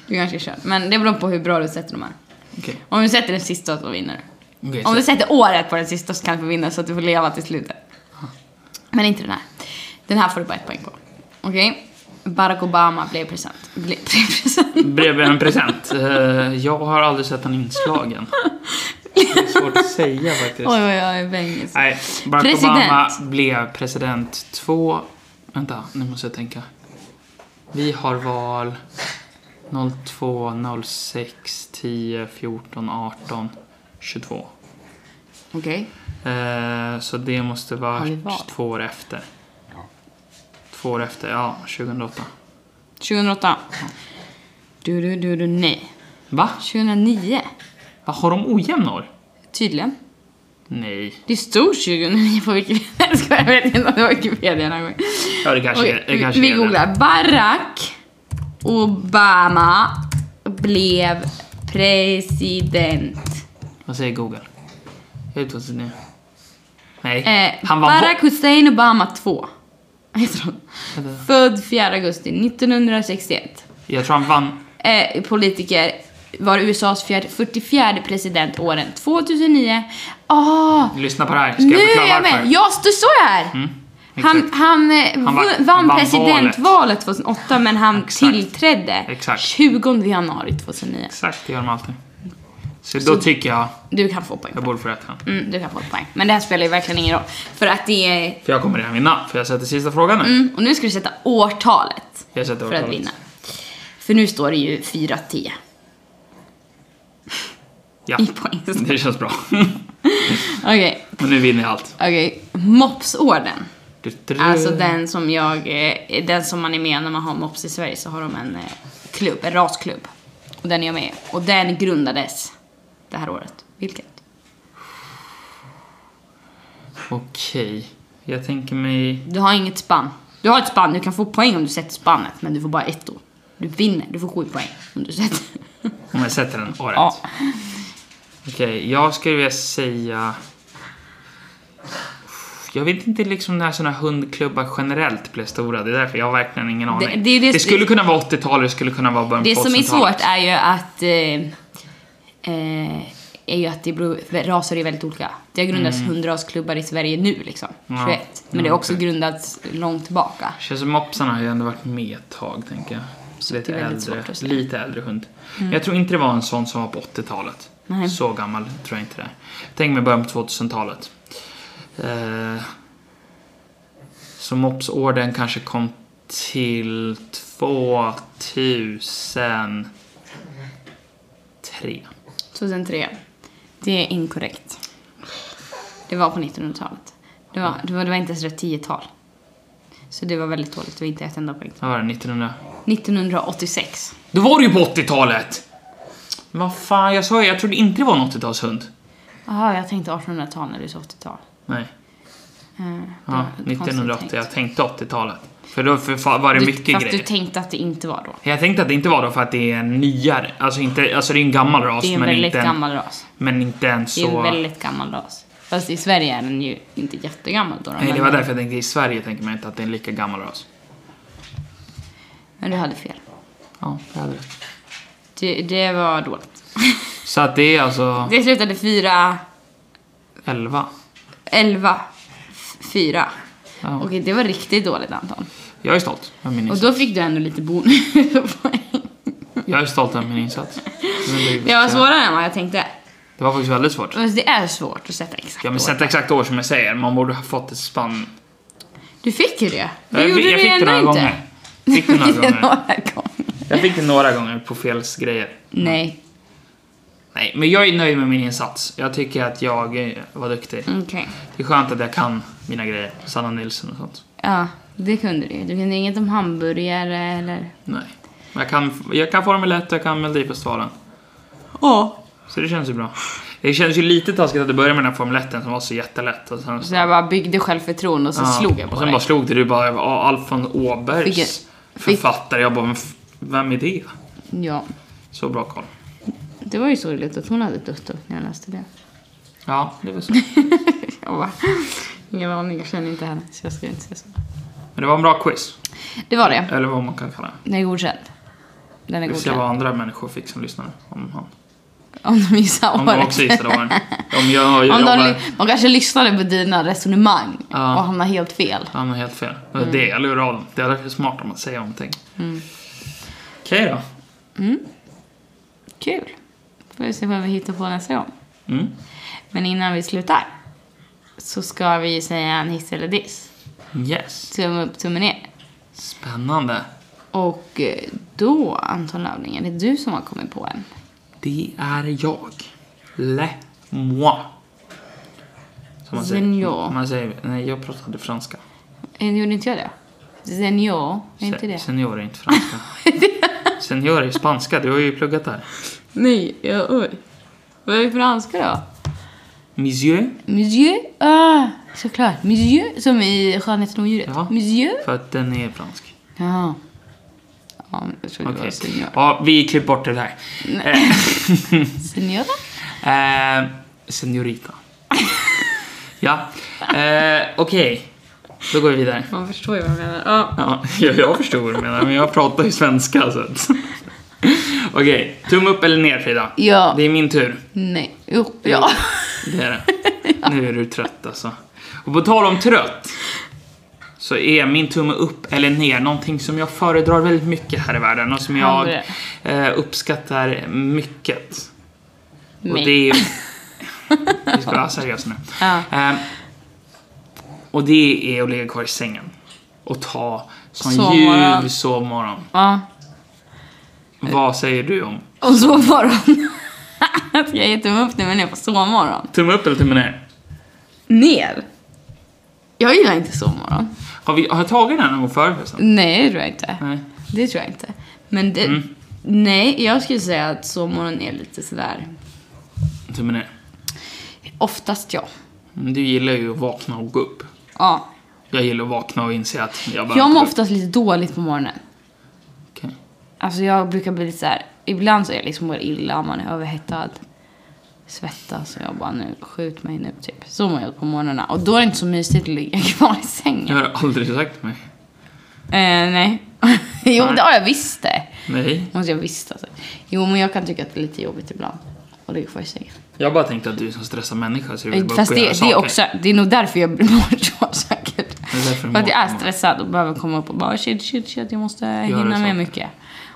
A: Du kanske är körd, men det beror på hur bra du sätter de här.
B: Okej.
A: Om du sätter den sista så vinner du.
B: Okej,
A: Om
B: så-
A: du sätter året på den sista så kan du få vinna så att du får leva till slutet. Men inte den här. Den här får du bara ett poäng på. Okej? Barack Obama blev present. Blev present.
B: Bredvid en present. Eh, jag har aldrig sett den inslagen. Det är svårt att säga faktiskt.
A: Oj, oj, oj, bängis.
B: Nej, Barack
A: President.
B: Obama blev president två... Vänta, nu måste jag tänka. Vi har val 02, 06, 10, 14, 18, 22.
A: Okej.
B: Eh, så det måste vara
A: Har vi val?
B: två år efter. Två år efter, ja, 2008.
A: 2008. Du, du, du, du, nej.
B: Va?
A: 2009.
B: Va, har de ojämna år?
A: Tydligen.
B: Nej.
A: Det stod 2009 på Wikipedia. Jag skojar, jag vet inte om det var Wikipedia någon gång.
B: Ja, det kanske,
A: Okej,
B: är, det kanske
A: vi
B: är det.
A: googlar. Barack Obama blev president.
B: Vad säger Google? Jag är 2009. Nej,
A: Eh,
B: han var...
A: Barack Hussein Obama 2. Heter han.
B: Vänta.
A: Född 4 augusti 1961.
B: Jag tror han vann.
A: Eh, politiker. Var USAs fjärde, 44 president åren 2009. Ah!
B: Lyssna på det här. Ska
A: Nu
B: jag förklara
A: är jag
B: varför? Mm,
A: med! Ja, det står här! Han,
B: Exakt.
A: han, eh,
B: Han var-
A: vann,
B: vann
A: presidentvalet 2008 men han
B: Exakt.
A: tillträdde
B: Exakt.
A: 20 januari 2009.
B: Exakt, det gör de alltid. Så, då tycker jag
A: Du kan få poäng.
B: jag borde få rätt här.
A: Mm, du kan få ett poäng. Men det här spelar ju verkligen ingen roll. För att det är...
B: För jag kommer redan vinna, för jag sätter sista frågan nu.
A: Mm, och nu ska du sätta årtalet.
B: Jag sätter
A: För att
B: årtalet.
A: vinna. För nu står det ju 4-10
B: Ja,
A: i poäng.
B: det känns bra.
A: Okej,
B: Men nu vinner jag allt.
A: okej. Mopsorden.
B: Du, du, du.
A: Alltså den som jag... eh, Den som man är med när man har mops i Sverige så har de en eh, klubb, en rasklubb. Och den är jag med i. Och den grundades det här året. Vilket?
B: Okej. Jag tänker mig...
A: Du har inget spann. Du har ett spann, du kan få poäng om du sätter spannet, men du får bara ett år. Du vinner, du får sju poäng om du sätter.
B: Om jag sätter den året.
A: Ja.
B: Okej, jag skulle vilja säga... Jag vet inte liksom när såna hundklubbar generellt blev stora. Det är därför jag har verkligen ingen aning.
A: det är det-
B: skulle kunna vara 80-tal, det skulle kunna vara början på
A: Det som är
B: 80-talet.
A: svårt är ju att... Eh, eh, är ju att det beror, raser är väldigt olika. Det har grundats hundrasklubbar i Sverige nu liksom,
B: Mm. Ja.
A: 21. Men det har också grundats långt tillbaka.
B: Känns som mopsarna har ju ändå varit med ett tag, tänker jag.
A: Så
B: lite,
A: det är väldigt
B: äldre,
A: svårt att säga.
B: lite äldre hund. Men Jag tror inte det var en sån som var på 80-talet.
A: Nej.
B: Så gammal tror jag inte det är. Tänk mig början på 2000-talet. Eh, så mopsorden kanske kom till 2003.
A: 2003. Det är inkorrekt. Det var på 1900-talet. Det var, det var, det var inte ens rätt 10-tal. Så det var väldigt dåligt. Det var inte ett enda poäng.
B: Vad var det? 1900?
A: 1986.
B: Då var det ju på 80-talet! Men Vad fan, jag sa ju, jag trodde inte det var en 80-talshund.
A: Jaha, jag tänkte 1800-tal när du sa 80-tal.
B: Nej.
A: Eh, det var
B: Ja,
A: ett konstigt
B: 1980.
A: tänkt.
B: Jag tänkte 80-talet. För då för fan var det
A: Du-
B: mycket
A: Fast
B: grejer.
A: du tänkte att det inte var då.
B: Jag tänkte att det inte var då för att det är en nyare. Alltså, inte, alltså det är en gammal ras.
A: Det är en
B: men,
A: väldigt
B: inte en,
A: gammal ras.
B: men inte en så...
A: Det är en väldigt gammal ras. Fast i Sverige är den ju inte jättegammal då. då,
B: Nej, det
A: men-
B: var därför jag tänkte i Sverige tänker man inte att det är en lika gammal ras.
A: Men du hade fel.
B: Ja, det hade rätt.
A: Det, det var dåligt.
B: Så att det är alltså
A: Det slutade fyra
B: 11.
A: 11 4.
B: Ja.
A: Okej, det var riktigt dåligt Anton.
B: Jag är stolt över min
A: Och
B: insats.
A: då fick du ändå lite bonuspoäng.
B: Jag är stolt över min insats. Men
A: Det var svårare än vad jag tänkte.
B: Det var faktiskt väldigt svårt.
A: Fast Det är svårt att sätta exakt
B: Ja, men
A: år.
B: sätta exakt år som jag säger. Man borde ha fått ett spann.
A: Du fick ju det. Du
B: jag,
A: gjorde det
B: jag fick det
A: ändå
B: några
A: inte.
B: gånger. Fick det några
A: Fick det
B: gånger.
A: några gånger.
B: Jag fick det några gånger på fel grejer.
A: Nej,
B: Nej, men jag är nöjd med min insats. Jag tycker att jag eh, var duktig.
A: okej.
B: Det är skönt att jag kan mina grejer. Sanna Nilsson och sånt.
A: Ja, det kunde du ju. Du kunde inget om hamburgare eller...
B: Nej. Men Jag kan, jag kan Formel 1 och jag kan Melodifestivalen.
A: Ja.
B: Så det känns ju bra. Det känns ju lite taskigt att det började med den här Formel 1 som var så jättelätt. Och sen,
A: Så jag bara byggde självförtroende och så
B: Ja,
A: slog jag på
B: Och sen
A: dig.
B: bara slog det. Du bara, "Ja, Alfons
A: Fick jag-
B: Åbergs
A: fick-
B: författare. Jag bara, "Men f- vem är det?
A: Ja.
B: Så bra koll.
A: Det var ju sorgligt att hon hade dött då när jag läste det.
B: Ja, det var så.
A: Jag bara... Ingen aning, jag känner inte henne så jag ska inte säga så.
B: Men det var en bra quiz.
A: Det var det.
B: Eller vad man kan kalla det.
A: Den är godkänd. Den är
B: Vi får se
A: godkänd.
B: vad andra människor fick som lyssnade. Om, han.
A: Om de gissar
B: om de
A: året.
B: också gissade åren. Om jag, jag
A: Om de,
B: jobbar...
A: ly- de kanske lyssnade på dina resonemang
B: Ja.
A: och hamnade helt fel.
B: Han har helt fel. Det är
A: Mm.
B: det jag lurar av dem. Det är därför det är smart om att säga någonting. Okej då.
A: Kul. Får vi se vad vi hittar på nästa gång.
B: Mm.
A: Men innan vi slutar så ska vi säga en hiss eller diss.
B: Yes.
A: Tumme upp, tumme ner.
B: Spännande.
A: Och eh, då, Anton Lövling, är det du som har kommit på en?
B: Det är jag. Le moi. Som man säger. Mm,
A: Senior.
B: Man säger, nej jag pratade franska.
A: Eh, Gjorde inte jag det? Senior, är inte
B: Se-
A: det?
B: Senior är inte franska. Senior är spanska, du har ju pluggat där.
A: Nej, ja, oj. Vad är det för franska då?
B: Monsieur.
A: Monsieur, ah, såklart. Monsieur, som i Skönheten och odjuret.
B: Ja.
A: Monsieur.
B: För att den är fransk.
A: Ja. Ja, men jag trodde det
B: Okej.
A: var senior.
B: Ja, vi klipper bort det där.
A: Senior?
B: Eh, senorita. ja. Eh, Okej. Då går vi vidare.
A: Man förstår ju vad jag menar. Ja.
B: Ja, jag, jag förstår vad du menar, men jag pratar ju svenska så att... Okej, tumme upp eller ner Frida?
A: Ja.
B: Det är min tur.
A: Nej. Jo, ja.
B: Det är det. Nu är du trött alltså. Och på tal om trött. Så är min tumme upp eller ner någonting som jag föredrar väldigt mycket här i världen och som jag eh, uppskattar mycket. Och
A: Mig.
B: det är... Vi ska vara seriösa nu.
A: Ja.
B: Ehm, och det är att ligga kvar i sängen. Och ta sån
A: Sovmorgon. Eh.
B: ljuv sovmorgon.
A: Ja.
B: Vad säger du om?
A: Och sovmorgon. Ska jag ge tumme upp nu men jag på sovmorgon?
B: Tumme upp eller tumme ner?
A: Ner? Jag gillar inte sovmorgon.
B: Har, vi, har jag tagit den här någon gång förut förresten?
A: Nej, det tror jag inte.
B: Nej.
A: Det tror jag inte. Men det... Nej, jag skulle säga att sovmorgon är lite sådär...
B: Tumme ner.
A: Oftast ja.
B: Men Du gillar ju att vakna och gå upp.
A: Ja.
B: Jag gillar att vakna och inse att jag bara... typ-
A: Jag mår oftast lite dåligt på morgonen.
B: Okej.
A: Alltså jag brukar bli lite så här. ibland så är jag liksom mår illa om man är överhettad. Svettas och jag bara nu, skjut mig nu typ. Så mår jag på morgnarna. Och då är det inte så mysigt att ligga kvar i
B: Jag
A: sängen.
B: har aldrig sagt till mig.
A: Eh, nej. jo det har jag visst det.
B: Nej.
A: Måste jag visst alltså. Jo men jag kan tycka att det är lite jobbigt ibland. Och ligga kvar i sängen.
B: Jag bara tänkte att du är en sån stressad människa så du vill bara
A: Eh, Fast
B: upp
A: det,
B: och göra
A: det är
B: saker.
A: också, det är nog därför jag mår så säkert.
B: Det är därför de
A: För att jag är
B: åker.
A: stressad och behöver komma upp och bara shit, shit, shit, jag måste hinna med
B: saker. Mm.
A: mycket.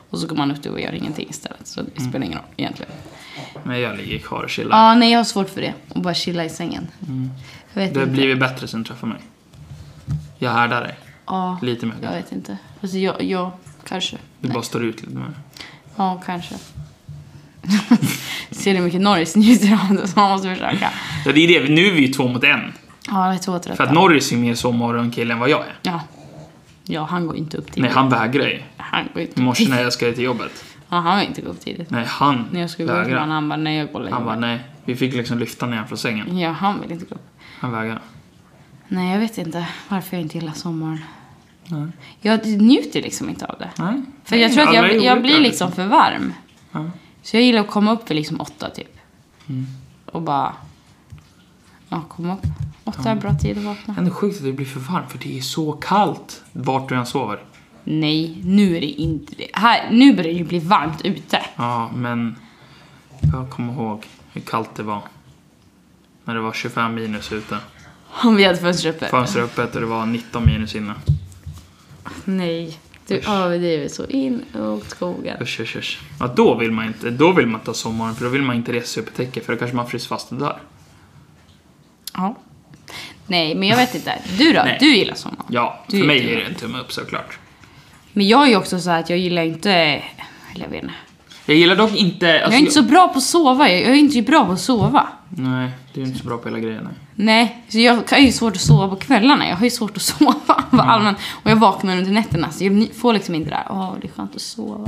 A: Och så går man upp det och gör ingenting istället. Så det spelar ingen roll egentligen.
B: Men jag ligger kvar och chillar.
A: Ja, nej jag har svårt för det. Och bara chilla i sängen. Jag vet
B: Mm. Det har
A: inte.
B: blivit bättre sen du träffade mig. Jag härdar dig.
A: Ja,
B: Lite mer
A: jag
B: kanske.
A: vet inte. Alltså jag, jag kanske.
B: Du bara står ut lite mer.
A: Ja, kanske. Ser du hur mycket Norris njuter av det så man måste försöka.
B: Ja, det är det. Nu är vi ju två mot en.
A: Ja, jag är två trötta.
B: För att Norris är mer så morgonkille än vad jag är.
A: Ja. Ja, han går inte upp tidigt.
B: Nej, han vägrar ju.
A: Han går inte
B: I
A: upp
B: morse
A: tidigt.
B: när jag skulle till jobbet.
A: Ja, han vill inte gå upp tidigt.
B: Nej, han
A: När jag skulle gå upp med
B: vägrar.
A: honom, han bara nej jag går och lägger
B: Han bara
A: mig.
B: nej. Vi fick liksom lyfta ner honom från sängen.
A: Ja, han vill inte gå upp.
B: Han vägrar.
A: Nej, jag vet inte varför jag inte gillar sommaren.
B: Nej.
A: Jag njuter liksom inte av det.
B: nej.
A: För jag tror att
B: Alla är
A: jag, jag
B: olika,
A: blir liksom för varm.
B: Ja.
A: Så jag gillar att komma upp vid liksom åtta typ.
B: Mm.
A: Och bara... Ja, komma upp. Åtta är bra tid att vakna.
B: Ändå sjukt att det blir för varmt för det är så kallt vart du än sover.
A: Nej, nu är det inte det. Här, nu börjar det ju bli varmt ute.
B: Ja, men jag kommer ihåg hur kallt det var. När det var 25 minus ute.
A: Om vi hade fönstret öppet.
B: Fönstret öppet och det var 19 minus inne.
A: Nej, du
B: Usch.
A: överdriver så in och skogen.
B: Usch, usch, usch. Ja, då vill man inte, då vill man ta sommaren för då vill man inte resa sig upp i täcket för då kanske man fryser fast och dör.
A: Ja. Nej, men jag vet inte. Du då?
B: Nej.
A: Du gillar sommaren.
B: Ja,
A: Du
B: för
A: är
B: mig
A: inte
B: är det en tumme upp såklart.
A: Men jag är ju också så här att jag gillar inte... Eller jag vet inte.
B: Jag gillar dock inte... alltså,
A: Jag är inte så bra på att sova. Jag jag är inte bra på att sova.
B: Nej, du är inte så bra på hela grejen. Nej.
A: Nej, så jag kan ju svårt att sova på kvällarna. Jag har ju svårt att sova mm. allmänt. Och jag vaknar under nätterna så jag ni- får liksom inte det där, åh det är skönt att sova.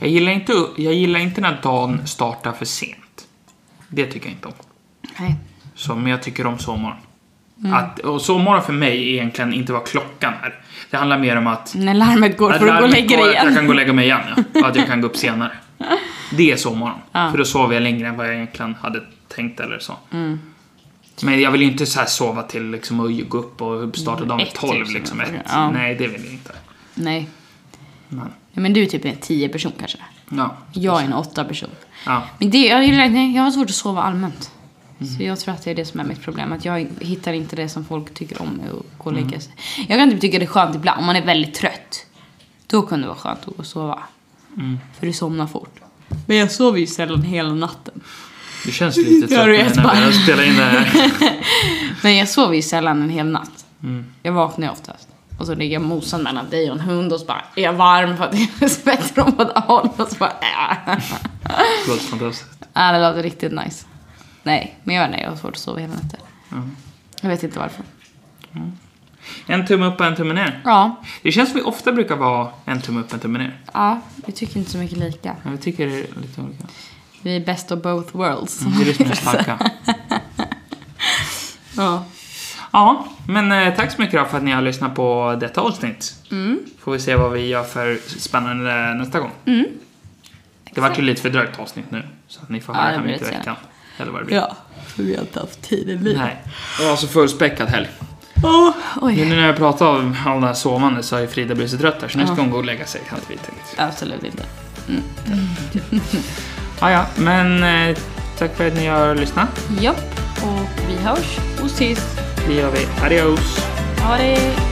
B: Jag gillar, inte, jag gillar inte när dagen startar för sent. Det tycker jag inte om.
A: Nej.
B: Så, men jag tycker om sovmorgon.
A: Mm.
B: Att, och sovmorgon för mig är egentligen inte vad klockan är. Det handlar mer om att...
A: När larmet går
B: att
A: får du gå och
B: larmet
A: lägga
B: går,
A: dig
B: att Jag
A: igen.
B: kan gå och lägga mig igen, ja. Och att jag kan gå upp senare. Det är sovmorgon.
A: Ja.
B: För då sover jag längre än vad jag egentligen hade tänkt eller så.
A: Mm.
B: Men jag vill ju inte så här sova till liksom att gå upp och starta dagen vid
A: Ett,
B: 12
A: typ,
B: liksom.
A: som
B: Ett.
A: jag ja.
B: Nej, det vill jag inte.
A: Nej.
B: Men,
A: Nej, Men du är typ en 10 person kanske.
B: ja.
A: Jag är en åtta person.
B: ja.
A: Men det, jag, gillar, nej, jag har svårt att sova allmänt. Så jag tror att det är det som är mitt problem. Att jag hittar inte det som folk tycker om med att gå och lägga sig. Jag kan typ tycka det är skönt ibland om man är väldigt trött. Då kan det vara skönt att gå och sova. För du somnar fort. Mm. Men jag sover ju sällan hela natten.
B: Du känns lite
A: Jag
B: trött
A: har
B: nu
A: ju ett
B: när
A: barn.
B: vi har spelat in det här.
A: Men jag sover ju sällan en hel natt.
B: Mm,
A: Jag vaknar ju oftast. Och så ligger jag mosad mellan dig och en hund och så bara är jag varm för att det är svett från båda håll. Och så bara äh.
B: Det låter fantastiskt.
A: Ja, det låter riktigt nice. Nej, men jag, nej, jag har svårt att sova hela natten.
B: Mm.
A: Jag vet inte varför.
B: En tumme upp och en tumme ner.
A: Ja,
B: Det känns som vi ofta brukar vara en tumme upp och en tumme ner.
A: ja vi tycker inte så mycket lika.
B: Men vi tycker det är lite olika.
A: Vi är best of both worlds.
B: Det är det som är det starka.
A: Ja.
B: Ja, men eh, tack så mycket då för att ni har lyssnat på detta avsnitt.
A: Mm.
B: Får vi se vad vi gör för spännande nästa gång. Det vart ju lite fördröjt avsnitt nu. Så att ni får
A: Ja,
B: höra
A: det
B: ja,
A: blir
B: mitt i
A: lite
B: veckan. Eller vad det blir.
A: ja, för vi har inte haft tiden nu.
B: Nej. Det var så fullspäckad helg.
A: Åh,
B: Nu
A: oj.
B: när jag pratar om alla här sovande så har ju Frida blivit så trött här så nu ska hon gå och lägga sig. Kan vi tänkt.
A: Absolut inte.
B: Ja, ja, men eh, tack för att ni har lyssnat.
A: Japp, och vi hörs och ses.
B: Det gör vi. Adios!
A: Ha det!